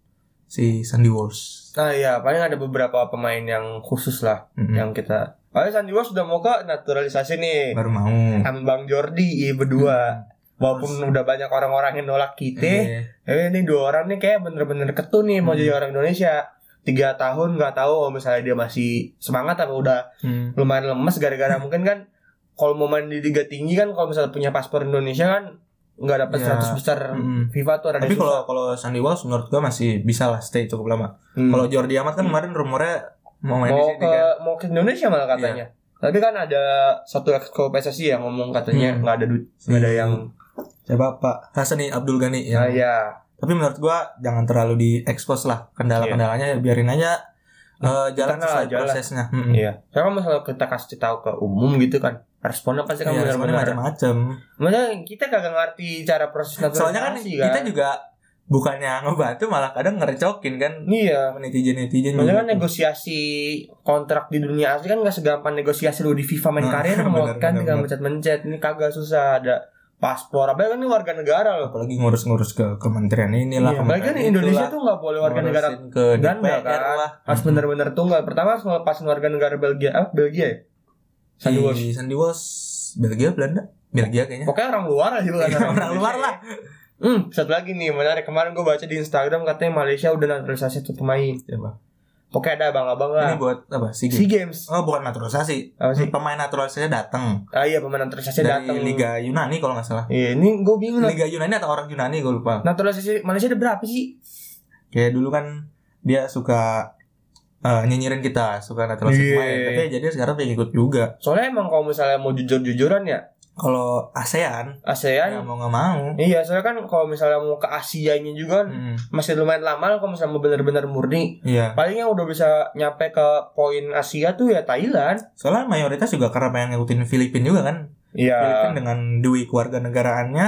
[SPEAKER 2] si Sandy Walsh.
[SPEAKER 1] Nah iya, paling ada beberapa pemain yang khusus lah
[SPEAKER 2] Mm-mm.
[SPEAKER 1] yang kita. Oh, Sandy Walsh sudah mau ke naturalisasi nih.
[SPEAKER 2] Baru mau.
[SPEAKER 1] Sama Bang Jordi iya,
[SPEAKER 2] Hmm.
[SPEAKER 1] berdua. Walaupun udah banyak orang-orang yang nolak kita,
[SPEAKER 2] Iya.
[SPEAKER 1] eh ini dua orang nih kayak bener-bener ketu nih mau
[SPEAKER 2] Hmm.
[SPEAKER 1] jadi orang Indonesia. Tiga tahun nggak tahu kalau misalnya dia masih semangat apa udah
[SPEAKER 2] Hmm.
[SPEAKER 1] lumayan lemes gara-gara mungkin kan kalau mau main di liga tinggi kan kalau misalnya punya paspor Indonesia kan nggak dapat
[SPEAKER 2] Ya.
[SPEAKER 1] 100 besar
[SPEAKER 2] Mm-mm.
[SPEAKER 1] FIFA tuh ada
[SPEAKER 2] Tapi kalau kalau Sandy Walsh menurut gue masih bisa lah stay cukup lama. Kalau Jordi Amat kan kemarin rumornya mau main
[SPEAKER 1] Hmm. mau
[SPEAKER 2] di
[SPEAKER 1] ke
[SPEAKER 2] sini kan.
[SPEAKER 1] mau ke Indonesia malah katanya. Tapi kan ada satu exco PSSI yang ngomong katanya
[SPEAKER 2] Hmm.
[SPEAKER 1] nggak ada duit, nggak ada
[SPEAKER 2] Si-
[SPEAKER 1] yang
[SPEAKER 2] Siapa Pak? Hasani Nah, Abdul Ghani
[SPEAKER 1] ya.
[SPEAKER 2] yang
[SPEAKER 1] ya.
[SPEAKER 2] tapi menurut gua jangan terlalu diekspos lah
[SPEAKER 1] Iya.
[SPEAKER 2] kendala-kendalanya biarin aja eh, jalan
[SPEAKER 1] Kita
[SPEAKER 2] sesuai
[SPEAKER 1] ngalah aja lah.
[SPEAKER 2] prosesnya Mm-mm.
[SPEAKER 1] Iya. Soalnya kan masalah kita kasih tahu ke umum gitu kan, responnya pasti kan
[SPEAKER 2] Iya, responnya
[SPEAKER 1] benar-benar.
[SPEAKER 2] macam-macam
[SPEAKER 1] Maksudnya kita kagak ngerti cara proses naturalisasi
[SPEAKER 2] soalnya kan kita juga bukannya ngebantu malah kadang ngerecokin kan
[SPEAKER 1] Iya.
[SPEAKER 2] netizen netizen
[SPEAKER 1] Maksudnya kan negosiasi kontrak di dunia asli kan gak segampang negosiasi lu di FIFA main
[SPEAKER 2] Nah,
[SPEAKER 1] karir
[SPEAKER 2] bener,
[SPEAKER 1] mau kan
[SPEAKER 2] bener,
[SPEAKER 1] tinggal
[SPEAKER 2] bener.
[SPEAKER 1] mencet-mencet ini kagak susah ada paspor apa kan ini warga negara loh.
[SPEAKER 2] apalagi ngurus-ngurus ke kementerian inilah
[SPEAKER 1] Iya, apalagi kan Indonesia tuh nggak boleh warga negara
[SPEAKER 2] ke
[SPEAKER 1] Belanda
[SPEAKER 2] DPR
[SPEAKER 1] kan.
[SPEAKER 2] lah
[SPEAKER 1] harus benar-benar tunggal. Pertama harus ngelepasin warga negara Belgia, ah Belgia ya. Sandy Walsh.
[SPEAKER 2] Sandiwos Sandiwos Belgia Belanda Belgia kayaknya
[SPEAKER 1] Pokoknya orang luar aja bukan
[SPEAKER 2] Iya, orang
[SPEAKER 1] Indonesia
[SPEAKER 2] luar
[SPEAKER 1] ya.
[SPEAKER 2] lah.
[SPEAKER 1] Hmm, satu lagi nih menarik kemarin gue baca di Instagram katanya Malaysia udah naturalisasi satu pemain. ya,
[SPEAKER 2] Coba.
[SPEAKER 1] Pokoknya ada abang-abang lah.
[SPEAKER 2] ini buat apa sih
[SPEAKER 1] Sea Games.
[SPEAKER 2] oh bukan naturalisasi
[SPEAKER 1] Apa sih?
[SPEAKER 2] pemain naturalisasinya datang
[SPEAKER 1] Ah iya pemain naturalisasi
[SPEAKER 2] Hmm. dari
[SPEAKER 1] datang.
[SPEAKER 2] Liga Yunani kalau nggak salah
[SPEAKER 1] Iya, ini gue bingung lah.
[SPEAKER 2] Liga Yunani atau orang Yunani gue lupa.
[SPEAKER 1] Naturalisasi Malaysia ada berapa sih?
[SPEAKER 2] Kayak dulu kan dia suka eh, nyinyirin kita, suka naturalisasi
[SPEAKER 1] Iya.
[SPEAKER 2] pemain. Tapi jadi sekarang pengen ikut juga.
[SPEAKER 1] Soalnya emang kalau misalnya mau jujur-jujuran ya
[SPEAKER 2] Kalau ASEAN ya
[SPEAKER 1] ASEAN
[SPEAKER 2] mau nggak mau.
[SPEAKER 1] Iya, soalnya kan kalau misalnya mau ke Asianya juga kan
[SPEAKER 2] Mm,
[SPEAKER 1] masih lumayan lama lah kalau misalnya mau benar-benar murni.
[SPEAKER 2] Iya.
[SPEAKER 1] Paling yang udah bisa nyampe ke poin Asia tuh ya Thailand.
[SPEAKER 2] Soalnya mayoritas juga karena pengen ngikutin Filipina juga kan. Filipina
[SPEAKER 1] Iya.
[SPEAKER 2] dengan Dwi keluarga negaraannya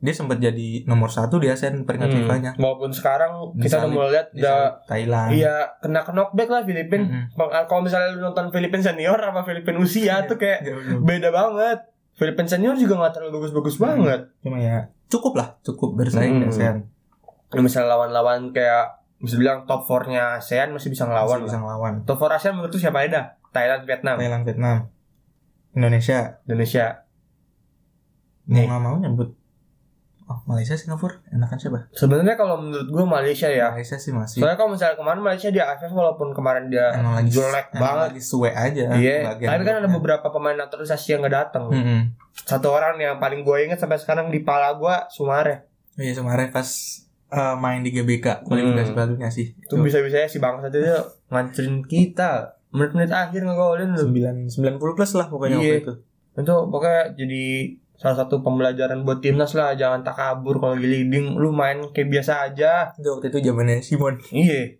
[SPEAKER 2] dia sempat jadi nomor satu di ASEAN peringkat
[SPEAKER 1] Hmm,
[SPEAKER 2] FIFA-nya.
[SPEAKER 1] Walaupun sekarang kita udah
[SPEAKER 2] Disalib-
[SPEAKER 1] mulai lihat udah
[SPEAKER 2] Disalip Thailand. Hmm,
[SPEAKER 1] Iya, kena knockback lah Filipin.
[SPEAKER 2] Mm-mm.
[SPEAKER 1] Bang, Kalau misalnya lu nonton Filipin senior sama Filipin usia
[SPEAKER 2] Iya.
[SPEAKER 1] tuh kayak beda banget. Filipin senior juga nggak terlalu bagus-bagus
[SPEAKER 2] Hmm.
[SPEAKER 1] banget.
[SPEAKER 2] Cuma ya cukup lah, cukup bersaing
[SPEAKER 1] Mm.
[SPEAKER 2] di ASEAN.
[SPEAKER 1] Kalau misalnya lawan-lawan kayak bisa bilang top 4-nya ASEAN masih bisa ngelawan.
[SPEAKER 2] Masih bisa
[SPEAKER 1] lah.
[SPEAKER 2] ngelawan.
[SPEAKER 1] Top 4 ASEAN menurut lu siapa aja dah? Thailand, Vietnam,
[SPEAKER 2] Thailand, Vietnam, Indonesia,
[SPEAKER 1] Indonesia.
[SPEAKER 2] mau
[SPEAKER 1] Nih.
[SPEAKER 2] nggak mau nyebut oh, Malaysia Singapura enakan siapa
[SPEAKER 1] Sebenarnya kalau menurut gue Malaysia ya.
[SPEAKER 2] Malaysia sih masih
[SPEAKER 1] Soalnya kalau misalnya kemarin Malaysia dia AFF walaupun kemarin dia
[SPEAKER 2] emang lagi
[SPEAKER 1] jelek
[SPEAKER 2] emang
[SPEAKER 1] banget.
[SPEAKER 2] lagi suwe aja
[SPEAKER 1] Iya,
[SPEAKER 2] bagian Hmm.
[SPEAKER 1] tapi kan ada
[SPEAKER 2] grupnya.
[SPEAKER 1] beberapa pemain naturalisasi yang gak datang.
[SPEAKER 2] Mm-mm.
[SPEAKER 1] Satu orang yang paling gue inget sampai sekarang di pala gue Sumare.
[SPEAKER 2] iya kemarin pas eh, main di GBK kualifikasi
[SPEAKER 1] Hmm.
[SPEAKER 2] barunya sih
[SPEAKER 1] Itu bisa-bisanya si bangsat itu ngancurin kita. Menit-menit akhir ngegolin lu.
[SPEAKER 2] sembilan sembilan puluh plus lah pokoknya
[SPEAKER 1] Iya.
[SPEAKER 2] waktu itu
[SPEAKER 1] Itu pokoknya jadi salah satu pembelajaran buat timnas lah jangan takabur kalau lagi leading lu main kayak biasa aja
[SPEAKER 2] itu waktu itu zamannya Simon
[SPEAKER 1] iya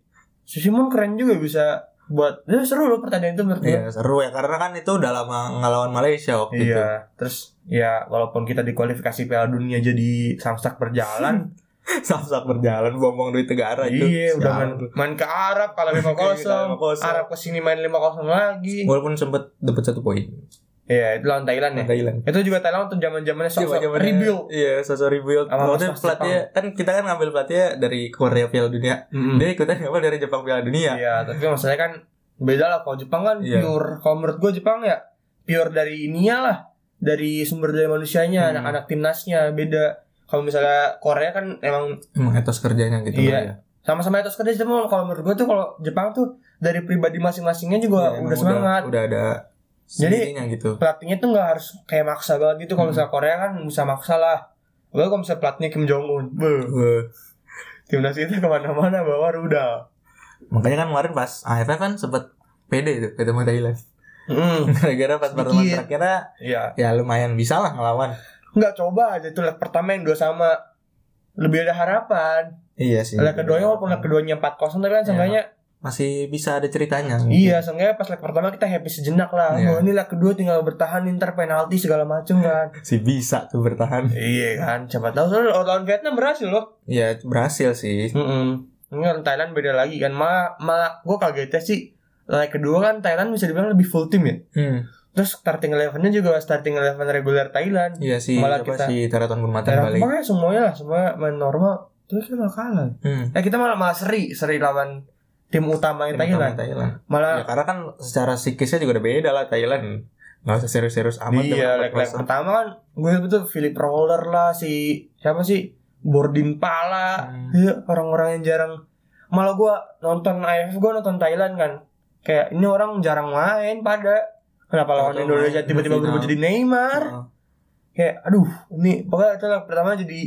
[SPEAKER 1] si Simon keren juga bisa buat ya seru loh pertandingan itu menurut gue
[SPEAKER 2] iya seru ya karena kan itu udah lama ngelawan Malaysia waktu itu
[SPEAKER 1] Iya, terus ya walaupun kita di kualifikasi Piala Dunia jadi samsak berjalan,
[SPEAKER 2] Sak-sak berjalan buang-buang duit negara Nah, itu.
[SPEAKER 1] Iya, udah
[SPEAKER 2] Sial.
[SPEAKER 1] main, main ke Arab kalah
[SPEAKER 2] Iya,
[SPEAKER 1] 5
[SPEAKER 2] kalah
[SPEAKER 1] 0
[SPEAKER 2] 5-0.
[SPEAKER 1] Arab ke sini main 5 0 lagi.
[SPEAKER 2] Walaupun sempet dapat satu poin.
[SPEAKER 1] Iya, itu lawan Thailand ya.
[SPEAKER 2] Thailand.
[SPEAKER 1] Itu juga Thailand tuh zaman-zamannya sok-sok
[SPEAKER 2] Jaman-jamannya-
[SPEAKER 1] rebuild.
[SPEAKER 2] Iya, sosok rebuild.
[SPEAKER 1] Sama
[SPEAKER 2] Maksudnya
[SPEAKER 1] sosok
[SPEAKER 2] platnya kan kita kan ngambil platnya dari Korea Piala Dunia.
[SPEAKER 1] Mm-mm.
[SPEAKER 2] Dia ikutan ngambil dari Jepang Piala Dunia.
[SPEAKER 1] Iya, tapi maksudnya kan beda lah kalau Jepang kan
[SPEAKER 2] Iya.
[SPEAKER 1] pure kalau menurut gue Jepang ya pure dari ininya lah, dari sumber daya manusianya,
[SPEAKER 2] Hmm.
[SPEAKER 1] anak-anak timnasnya beda. Kalau misalnya Korea kan emang
[SPEAKER 2] Emang etos kerjanya gitu
[SPEAKER 1] Iya.
[SPEAKER 2] lah ya.
[SPEAKER 1] sama-sama etos kerja cuma kalau menurut gue tuh kalau Jepang tuh dari pribadi masing-masingnya
[SPEAKER 2] Iya,
[SPEAKER 1] juga
[SPEAKER 2] emang
[SPEAKER 1] udah semangat.
[SPEAKER 2] Udah, ada sendirinya gitu.
[SPEAKER 1] pelatihnya tuh nggak harus kayak maksa banget gitu kalau
[SPEAKER 2] Hmm.
[SPEAKER 1] misalnya Korea kan bisa maksa lah Lalu kalau misalnya pelatihnya Kim Jong Un beuh,
[SPEAKER 2] Wah.
[SPEAKER 1] timnas itu kemana-mana bawa rudal
[SPEAKER 2] Makanya kan kemarin pas AFF kan sempet pede itu ketemu Thailand.
[SPEAKER 1] hmm.
[SPEAKER 2] Gara-gara pas pertemuan
[SPEAKER 1] Sedikit.
[SPEAKER 2] terakhirnya
[SPEAKER 1] ya
[SPEAKER 2] ya lumayan bisa lah ngelawan.
[SPEAKER 1] nggak coba aja tuh leg pertama yang dua sama lebih ada harapan
[SPEAKER 2] Iya sih.
[SPEAKER 1] leg keduanya walaupun leg keduanya 4-0 tapi kan
[SPEAKER 2] Iya.
[SPEAKER 1] seenggaknya
[SPEAKER 2] masih bisa ada ceritanya.
[SPEAKER 1] iya seenggaknya pas leg pertama kita happy sejenak lah
[SPEAKER 2] Iya.
[SPEAKER 1] Wah, ini leg kedua tinggal bertahan inter penalti segala macem kan
[SPEAKER 2] Si bisa tuh bertahan.
[SPEAKER 1] iya kan siapa tahu soalnya lawan Vietnam berhasil loh
[SPEAKER 2] Ya berhasil sih.
[SPEAKER 1] Mm Enggak, Thailand beda lagi kan. Malah, malah gue kagetnya sih. Leg kedua kan Thailand bisa dibilang lebih full tim ya.
[SPEAKER 2] Hmm.
[SPEAKER 1] Terus starting elevennya juga starting eleven reguler Thailand.
[SPEAKER 2] Iya sih.
[SPEAKER 1] Malah
[SPEAKER 2] apa
[SPEAKER 1] kita-
[SPEAKER 2] si Teraton Gunmatan
[SPEAKER 1] Thailand
[SPEAKER 2] balik.
[SPEAKER 1] makanya semuanya lah, semuanya main normal. Terus kita malah kalah.
[SPEAKER 2] Hmm.
[SPEAKER 1] Eh kita malah malah seri, seri lawan tim utama
[SPEAKER 2] Tim
[SPEAKER 1] Thailand.
[SPEAKER 2] utama Thailand.
[SPEAKER 1] Malah
[SPEAKER 2] Ya karena kan secara psikisnya juga udah beda lah Thailand. Gak usah serius-serius amat.
[SPEAKER 1] dia
[SPEAKER 2] dengan
[SPEAKER 1] leg leg
[SPEAKER 2] 4-0.
[SPEAKER 1] pertama kan gue betul Philip Roller lah si siapa sih Bordin Pala.
[SPEAKER 2] Hmm.
[SPEAKER 1] Iya, orang-orang yang jarang malah gua nonton AFF gua nonton Thailand kan kayak ini orang jarang main pada kenapa lawan
[SPEAKER 2] Atau
[SPEAKER 1] Indonesia
[SPEAKER 2] main kan?
[SPEAKER 1] tiba-tiba
[SPEAKER 2] di final.
[SPEAKER 1] berubah jadi Neymar
[SPEAKER 2] Heeh.
[SPEAKER 1] kayak aduh ini pokoknya itu lah pertama jadi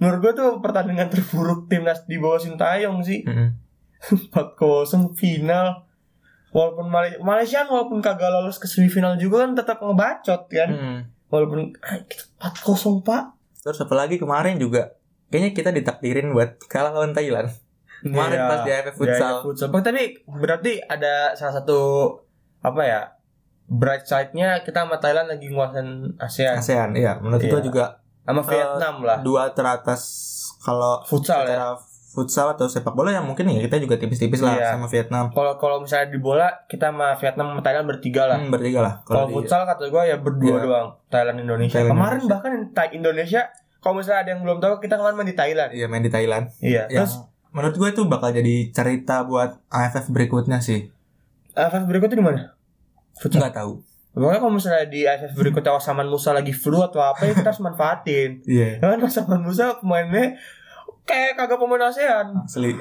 [SPEAKER 1] menurut gua tuh pertandingan terburuk timnas di bawah Sintayong sih
[SPEAKER 2] Mm-mm.
[SPEAKER 1] 4-0 final walaupun Mal- Malaysia walaupun kagak lolos ke semifinal juga kan tetap ngebacot kan
[SPEAKER 2] Mm-mm.
[SPEAKER 1] walaupun ah, kita 4-0 pak
[SPEAKER 2] Terus apalagi kemarin juga kayaknya kita ditakdirin buat kalah lawan Thailand. Kemarin
[SPEAKER 1] Iya.
[SPEAKER 2] pas di AFF futsal.
[SPEAKER 1] Gaya futsal. Bang, tapi berarti ada salah satu apa ya? Bright side-nya kita sama Thailand lagi nguasain ASEAN
[SPEAKER 2] ASEAN iya menurut
[SPEAKER 1] Iya.
[SPEAKER 2] gua juga Eh,
[SPEAKER 1] sama Vietnam lah.
[SPEAKER 2] dua teratas kalau
[SPEAKER 1] Futsal ya.
[SPEAKER 2] secara futsal atau sepak bola yang mungkin ya kita juga tipis-tipis lah
[SPEAKER 1] Iya.
[SPEAKER 2] sama Vietnam.
[SPEAKER 1] Kalau kalau misalnya di bola kita sama Vietnam sama Thailand bertiga lah.
[SPEAKER 2] Hmm, bertiga lah.
[SPEAKER 1] Iya. kalau
[SPEAKER 2] di-
[SPEAKER 1] futsal kata gua ya berdua
[SPEAKER 2] Iya.
[SPEAKER 1] doang. Thailand Indonesia.
[SPEAKER 2] Thailand,
[SPEAKER 1] kemarin
[SPEAKER 2] Indonesia.
[SPEAKER 1] bahkan Thai Indonesia kalau misalnya ada yang belum tahu kita kemarin main di Thailand.
[SPEAKER 2] Iya main di Thailand.
[SPEAKER 1] Iya.
[SPEAKER 2] Yang
[SPEAKER 1] Terus
[SPEAKER 2] menurut gue itu bakal jadi cerita buat AFF berikutnya sih.
[SPEAKER 1] AFF berikutnya di mana? Futsal.
[SPEAKER 2] Nggak tahu.
[SPEAKER 1] Pokoknya kalau misalnya di AFF berikutnya Osaman Musa lagi flu atau apa ya kita harus manfaatin.
[SPEAKER 2] Iya.
[SPEAKER 1] Kan Osaman Musa pemainnya kayak kagak pemain E ASEAN.
[SPEAKER 2] Asli.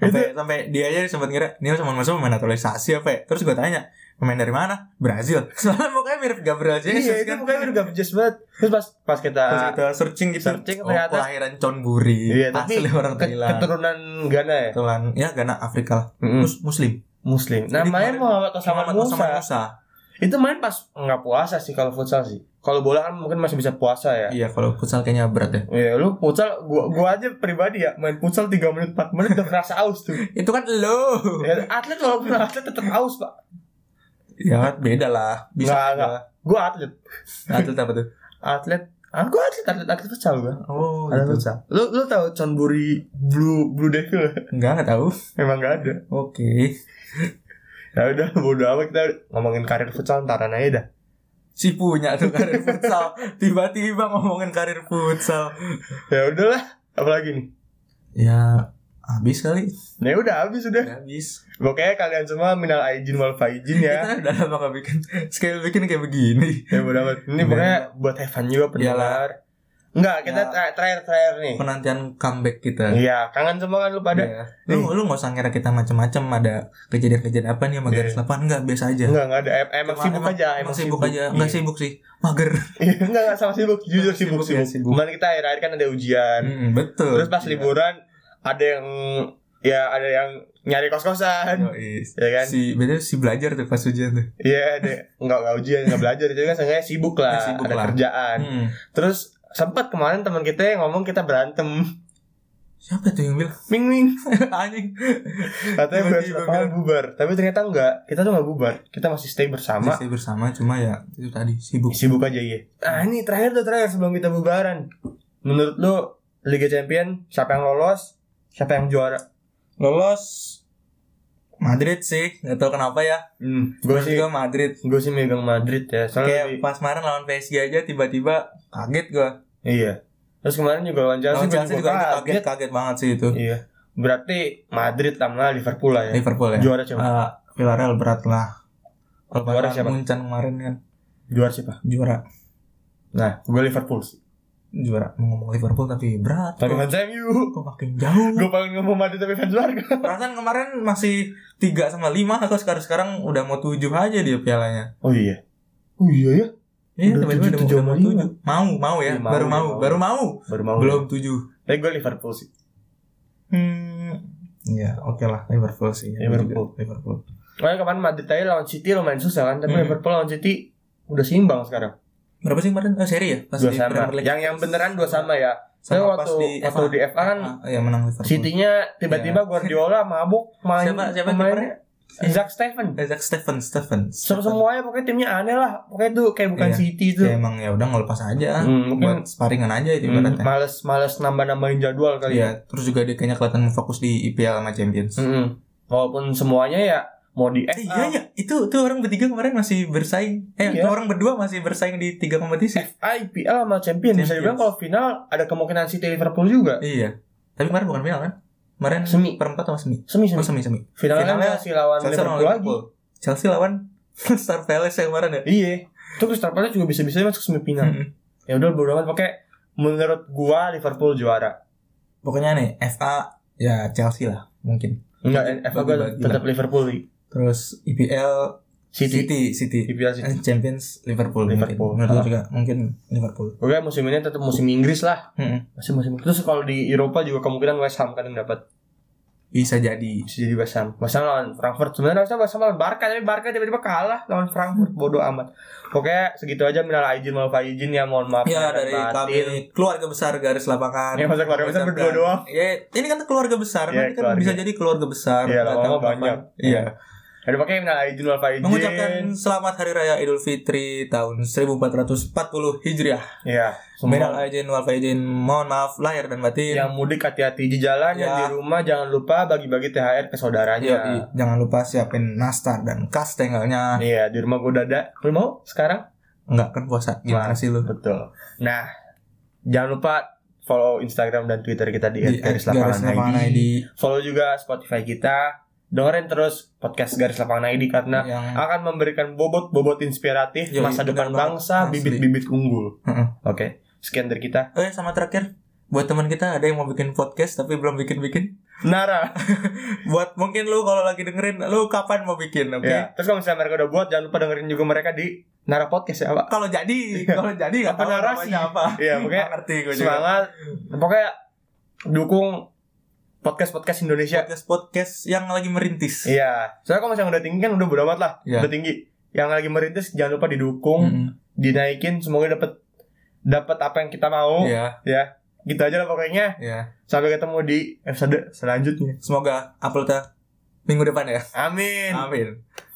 [SPEAKER 2] Sampai, sampai dia aja sempat ngira Nil sama masuk pemain naturalisasi apa ya? Terus gue tanya pemain dari mana? Brazil. Soalnya mukanya mirip Gabriel Jesus
[SPEAKER 1] Iya, itu
[SPEAKER 2] kan.
[SPEAKER 1] mukanya udah gabjes banget. Terus pas pas kita,
[SPEAKER 2] Terus kita searching gitu.
[SPEAKER 1] searching
[SPEAKER 2] oh,
[SPEAKER 1] ternyata-
[SPEAKER 2] kelahiran Chonburi.
[SPEAKER 1] iya, tapi
[SPEAKER 2] Asli orang
[SPEAKER 1] ke-
[SPEAKER 2] Thailand.
[SPEAKER 1] keturunan Ghana ya,
[SPEAKER 2] Kebetulan ya Ghana Afrika lah.
[SPEAKER 1] Mus-
[SPEAKER 2] Mus- Muslim.
[SPEAKER 1] Muslim. Namanya
[SPEAKER 2] kemarin-
[SPEAKER 1] Muhammad Osaman
[SPEAKER 2] Muhammad
[SPEAKER 1] Hmm. Musa.
[SPEAKER 2] Osman Musa.
[SPEAKER 1] Itu main pas nggak puasa sih kalau futsal sih. Kalau bola kan mungkin masih bisa puasa ya.
[SPEAKER 2] Iya kalau futsal kayaknya berat ya.
[SPEAKER 1] Iya, lu futsal gua gua aja pribadi ya main futsal 3 menit 4 menit udah kerasa aus tuh.
[SPEAKER 2] Itu kan lo.
[SPEAKER 1] Ya, atlet walaupun atlet tetap aus, Pak.
[SPEAKER 2] Ya kan beda lah. Bisa.
[SPEAKER 1] Nggak, nggak. Gua atlet.
[SPEAKER 2] Nah, itu apa tuh?
[SPEAKER 1] Atlet. Ah, gua atlet atlet atlet futsal gua.
[SPEAKER 2] Oh,
[SPEAKER 1] Atlet
[SPEAKER 2] gitu.
[SPEAKER 1] futsal. Lu lu tahu Chonburi Blue Blue Devil?
[SPEAKER 2] Enggak, enggak tahu.
[SPEAKER 1] Emang gak ada.
[SPEAKER 2] Oke.
[SPEAKER 1] Ya udah bodo amat kita ngomongin karir futsal ntaran aja dah.
[SPEAKER 2] Si punya tuh karir futsal. Tiba-tiba ngomongin karir futsal.
[SPEAKER 1] Ya udahlah, apalagi nih.
[SPEAKER 2] Ya, habis kali.
[SPEAKER 1] Nah udah habis udah.
[SPEAKER 2] Habis.
[SPEAKER 1] Pokoknya kalian semua minal aijin wal faizin ya.
[SPEAKER 2] Kita udah lama gak bikin. Sekali bikin kayak begini.
[SPEAKER 1] ya bodo amat. Ini
[SPEAKER 2] Iya.
[SPEAKER 1] pokoknya buat Evan juga pendengar. Enggak, kita
[SPEAKER 2] Ya.
[SPEAKER 1] tra- terakhir-terakhir nih.
[SPEAKER 2] Penantian comeback kita.
[SPEAKER 1] Iya, kangen semua kan lu pada.
[SPEAKER 2] Iya. Lu lu gak usah ngira kita macam-macam ada kejadian-kejadian apa nih sama garis
[SPEAKER 1] Iya.
[SPEAKER 2] lapangan enggak biasa aja.
[SPEAKER 1] Enggak, enggak ada. Em- Emang
[SPEAKER 2] Cuma
[SPEAKER 1] sibuk aja,
[SPEAKER 2] Emang kan sibuk aja, enggak
[SPEAKER 1] Iya.
[SPEAKER 2] sibuk sih. Mager.
[SPEAKER 1] Iya, enggak, enggak sama sibuk. Jujur
[SPEAKER 2] Sibuk,
[SPEAKER 1] sibuk,
[SPEAKER 2] ya,
[SPEAKER 1] sibuk.
[SPEAKER 2] sibuk.
[SPEAKER 1] Kemarin kita akhir-akhir kan ada ujian.
[SPEAKER 2] Hmm, betul.
[SPEAKER 1] Terus pas
[SPEAKER 2] Iya.
[SPEAKER 1] liburan ada yang ya ada yang nyari kos-kosan.
[SPEAKER 2] Yoi.
[SPEAKER 1] Ya kan?
[SPEAKER 2] Si bener si belajar tuh pas ujian tuh.
[SPEAKER 1] Iya deh, nggak nggak ujian, nggak belajar itu kan seenggaknya sibuk lah,
[SPEAKER 2] Ya, sibuk
[SPEAKER 1] ada
[SPEAKER 2] lah.
[SPEAKER 1] kerjaan.
[SPEAKER 2] Hmm.
[SPEAKER 1] Terus sempat kemarin teman kita yang ngomong kita berantem,
[SPEAKER 2] Siapa tuh yang bilang
[SPEAKER 1] ming ming,
[SPEAKER 2] anjing?
[SPEAKER 1] katanya
[SPEAKER 2] Tiba-tiba kan?
[SPEAKER 1] bahas lapangan
[SPEAKER 2] bilang.
[SPEAKER 1] bubar, tapi ternyata enggak, kita tuh nggak bubar, kita masih stay bersama,
[SPEAKER 2] Masih bersama cuma ya itu tadi sibuk.
[SPEAKER 1] Nah, sibuk aja iya. Ah ini terakhir tuh terakhir sebelum kita bubaran, menurut lo Liga Champion siapa yang lolos siapa yang juara
[SPEAKER 2] Lolos Madrid sih, nggak tahu kenapa ya.
[SPEAKER 1] hmm, gue
[SPEAKER 2] Gue
[SPEAKER 1] sih
[SPEAKER 2] juga Madrid.
[SPEAKER 1] gue sih megang Madrid ya soalnya
[SPEAKER 2] Kayak
[SPEAKER 1] lebih-
[SPEAKER 2] pas kemarin lawan PSG aja tiba-tiba kaget gue.
[SPEAKER 1] iya terus kemarin juga lawan Chelsea,
[SPEAKER 2] Lawan
[SPEAKER 1] gua
[SPEAKER 2] Chelsea juga kaget. kaget banget sih itu.
[SPEAKER 1] iya berarti Madrid sama Liverpool lah ya
[SPEAKER 2] Liverpool ya.
[SPEAKER 1] juara siapa
[SPEAKER 2] Eh, Villarreal berat lah. Kalau
[SPEAKER 1] Juara
[SPEAKER 2] lawan
[SPEAKER 1] siapa?
[SPEAKER 2] Munchen kemarin kan
[SPEAKER 1] juara siapa
[SPEAKER 2] juara
[SPEAKER 1] nah gue Liverpool sih
[SPEAKER 2] juara mau ngomong Liverpool tapi berat.
[SPEAKER 1] tapi
[SPEAKER 2] kok.
[SPEAKER 1] fans MU
[SPEAKER 2] Kok makin jauh.
[SPEAKER 1] gue pengen ngomong Madrid tapi fans warga
[SPEAKER 2] Perasaan kemarin masih 3 sama 5 atau sekarang sekarang udah mau 7 aja dia pialanya.
[SPEAKER 1] oh iya oh iya ya
[SPEAKER 2] Iya,
[SPEAKER 1] Udah
[SPEAKER 2] tiba-tiba udah,
[SPEAKER 1] 7,
[SPEAKER 2] udah mau
[SPEAKER 1] 7.
[SPEAKER 2] 7. Mau, mau ya,
[SPEAKER 1] Iya, mau,
[SPEAKER 2] baru
[SPEAKER 1] iya,
[SPEAKER 2] mau,
[SPEAKER 1] mau.
[SPEAKER 2] baru mau.
[SPEAKER 1] baru mau iya.
[SPEAKER 2] Belum 7.
[SPEAKER 1] tapi gue Liverpool sih
[SPEAKER 2] Hmm. Ya, oke lah Liverpool sih. ya.
[SPEAKER 1] Liverpool.
[SPEAKER 2] Liverpool.
[SPEAKER 1] Makanya kemarin Madrid aja lawan City lumayan susah kan Tapi
[SPEAKER 2] Hmm.
[SPEAKER 1] Liverpool lawan City udah seimbang sekarang
[SPEAKER 2] Berapa sih kemarin? Eh, seri ya? Pas
[SPEAKER 1] Dua
[SPEAKER 2] di
[SPEAKER 1] sama
[SPEAKER 2] Premier League.
[SPEAKER 1] Yang yang beneran dua sama ya Tapi
[SPEAKER 2] Sama pas
[SPEAKER 1] waktu,
[SPEAKER 2] di
[SPEAKER 1] waktu
[SPEAKER 2] FA.
[SPEAKER 1] di FA kan
[SPEAKER 2] Ah, ya menang Liverpool. Iya.
[SPEAKER 1] City-nya tiba-tiba Guardiola mabuk main
[SPEAKER 2] Siapa- siapa kipernya?
[SPEAKER 1] pemainnya Isaac Steven
[SPEAKER 2] Isaac Stephen, Stephen.
[SPEAKER 1] Sem- Semuanya pokoknya timnya aneh lah Pokoknya itu kayak bukan
[SPEAKER 2] Iya.
[SPEAKER 1] City itu
[SPEAKER 2] Ya emang ya udah ngelepas aja.
[SPEAKER 1] gitu. Hmm, mungkin-
[SPEAKER 2] buat sparingan aja itu
[SPEAKER 1] Hmm,
[SPEAKER 2] ibaratnya.
[SPEAKER 1] Males males nambah-nambahin jadwal kali ya Hmm.
[SPEAKER 2] Iya, terus juga dia kayaknya kelihatan fokus di IPL sama Champions.
[SPEAKER 1] Mm-mm. Walaupun semuanya ya Mau di
[SPEAKER 2] Iya. Hmm. Eh, iya
[SPEAKER 1] FA
[SPEAKER 2] ya, itu tuh orang bertiga kemarin masih bersaing. Eh,
[SPEAKER 1] Iya. Eh.
[SPEAKER 2] itu orang berdua masih bersaing di tiga kompetisi.
[SPEAKER 1] FA, IPL sama Champions Bisa dibilang
[SPEAKER 2] Champions.
[SPEAKER 1] kalau final Ada kemungkinan City Liverpool juga
[SPEAKER 2] Iya. Tapi kemarin bukan final kan? Kemarin
[SPEAKER 1] Semi.
[SPEAKER 2] perempat sama semi. Oh,
[SPEAKER 1] Semi-semi
[SPEAKER 2] semi semi.
[SPEAKER 1] Finalnya,
[SPEAKER 2] Finalnya
[SPEAKER 1] Chelsea lawan
[SPEAKER 2] Chelsea lawan
[SPEAKER 1] Liverpool lagi
[SPEAKER 2] Liverpool. Chelsea lawan Star Palace yang kemarin ya. Hmm,
[SPEAKER 1] Iya. Itu Crystal Palace juga bisa-bisa masuk semifinal.
[SPEAKER 2] Mm-mm.
[SPEAKER 1] Ya udah bodo amat pakai menurut gua Liverpool juara.
[SPEAKER 2] Pokoknya nih FA ya Chelsea lah mungkin.
[SPEAKER 1] Enggak, FA gua
[SPEAKER 2] Hmm. bagi-bagi
[SPEAKER 1] tetap Liverpool sih.
[SPEAKER 2] Terus IPL
[SPEAKER 1] City.
[SPEAKER 2] City City.
[SPEAKER 1] IPL City.
[SPEAKER 2] Eh, Champions Liverpool,
[SPEAKER 1] Liverpool.
[SPEAKER 2] mungkin. Menurut gua
[SPEAKER 1] Ah.
[SPEAKER 2] juga mungkin Liverpool. Hmm.
[SPEAKER 1] Oke, musim ini tetap musim Inggris lah.
[SPEAKER 2] Mm-mm.
[SPEAKER 1] Masih musim. Terus kalau di Eropa juga kemungkinan West Ham kan yang dapat.
[SPEAKER 2] Bisa jadi.
[SPEAKER 1] Bisa jadi West Ham. West Ham lawan Frankfurt. Sebenarnya harusnya West Ham lawan Barca, tapi Barca tiba-tiba kalah lawan Frankfurt. Bodoh amat. Pokoknya segitu aja minal aijin wal faizin ya mohon maaf
[SPEAKER 2] Ya
[SPEAKER 1] lahir dan
[SPEAKER 2] dari
[SPEAKER 1] batin.
[SPEAKER 2] kami keluarga besar garis lapangan.
[SPEAKER 1] Ya, masa keluarga besar berdua doang?
[SPEAKER 2] Ya ini kan keluarga besar,
[SPEAKER 1] Ya,
[SPEAKER 2] nanti kan
[SPEAKER 1] keluarga.
[SPEAKER 2] bisa jadi keluarga besar.
[SPEAKER 1] Iya,
[SPEAKER 2] nggak
[SPEAKER 1] lama-lama
[SPEAKER 2] tahu kapan.
[SPEAKER 1] banyak. Iya.
[SPEAKER 2] Iya.
[SPEAKER 1] Ada pakai minal aijin wal faizin.
[SPEAKER 2] Mengucapkan selamat Hari Raya Idul Fitri tahun 1440 Hijriah.
[SPEAKER 1] Iya.
[SPEAKER 2] Minal
[SPEAKER 1] Semua
[SPEAKER 2] aidin wal faizin, mohon maaf lahir dan batin.
[SPEAKER 1] yang mudik hati-hati di jalan yang
[SPEAKER 2] Ya.
[SPEAKER 1] di rumah jangan lupa bagi-bagi THR ke saudaranya
[SPEAKER 2] Yoi. jangan lupa siapin nastar dan kas tenggalnya.
[SPEAKER 1] iya di rumah gue dada lu mau sekarang
[SPEAKER 2] Enggak kan puasa. Gimana
[SPEAKER 1] Wah.
[SPEAKER 2] sih lu?
[SPEAKER 1] betul nah jangan lupa follow Instagram dan Twitter kita di, Iya, garis lapangan ID.
[SPEAKER 2] ID.
[SPEAKER 1] follow juga Spotify kita dengerin terus podcast garis lapangan ID karena
[SPEAKER 2] yang
[SPEAKER 1] akan memberikan bobot-bobot inspiratif
[SPEAKER 2] Iya. Yoi,
[SPEAKER 1] masa depan
[SPEAKER 2] benar banget.
[SPEAKER 1] bangsa
[SPEAKER 2] Asli.
[SPEAKER 1] bibit-bibit unggul
[SPEAKER 2] Heeh.
[SPEAKER 1] oke sekian dari kita
[SPEAKER 2] Oh ya sama terakhir buat teman kita ada yang mau bikin podcast tapi belum bikin-bikin.
[SPEAKER 1] Nara
[SPEAKER 2] Buat mungkin lu kalau lagi dengerin, lu kapan mau bikin, oke?
[SPEAKER 1] ya. terus kalau misalnya mereka udah buat jangan lupa dengerin juga mereka di Nara Podcast ya Pak
[SPEAKER 2] Kalau jadi, kalau jadi nggak
[SPEAKER 1] Apa
[SPEAKER 2] tahu
[SPEAKER 1] narasi?
[SPEAKER 2] namanya apa.
[SPEAKER 1] Iya, pokoknya
[SPEAKER 2] Nggak ngerti gue juga.
[SPEAKER 1] semangat pokoknya dukung podcast podcast Indonesia
[SPEAKER 2] Podcast podcast yang lagi merintis.
[SPEAKER 1] iya soalnya kalau misalnya udah tinggi kan udah bodo amat lah
[SPEAKER 2] Iya. Hmm.
[SPEAKER 1] udah tinggi yang lagi merintis jangan lupa didukung
[SPEAKER 2] Mm-mm.
[SPEAKER 1] dinaikin semoga dapat dapat apa yang kita mau
[SPEAKER 2] Iya,
[SPEAKER 1] gitu aja lah pokoknya
[SPEAKER 2] iya.
[SPEAKER 1] sampai ketemu di episode selanjutnya
[SPEAKER 2] Semoga uploadnya minggu depan ya.
[SPEAKER 1] amin
[SPEAKER 2] Amin.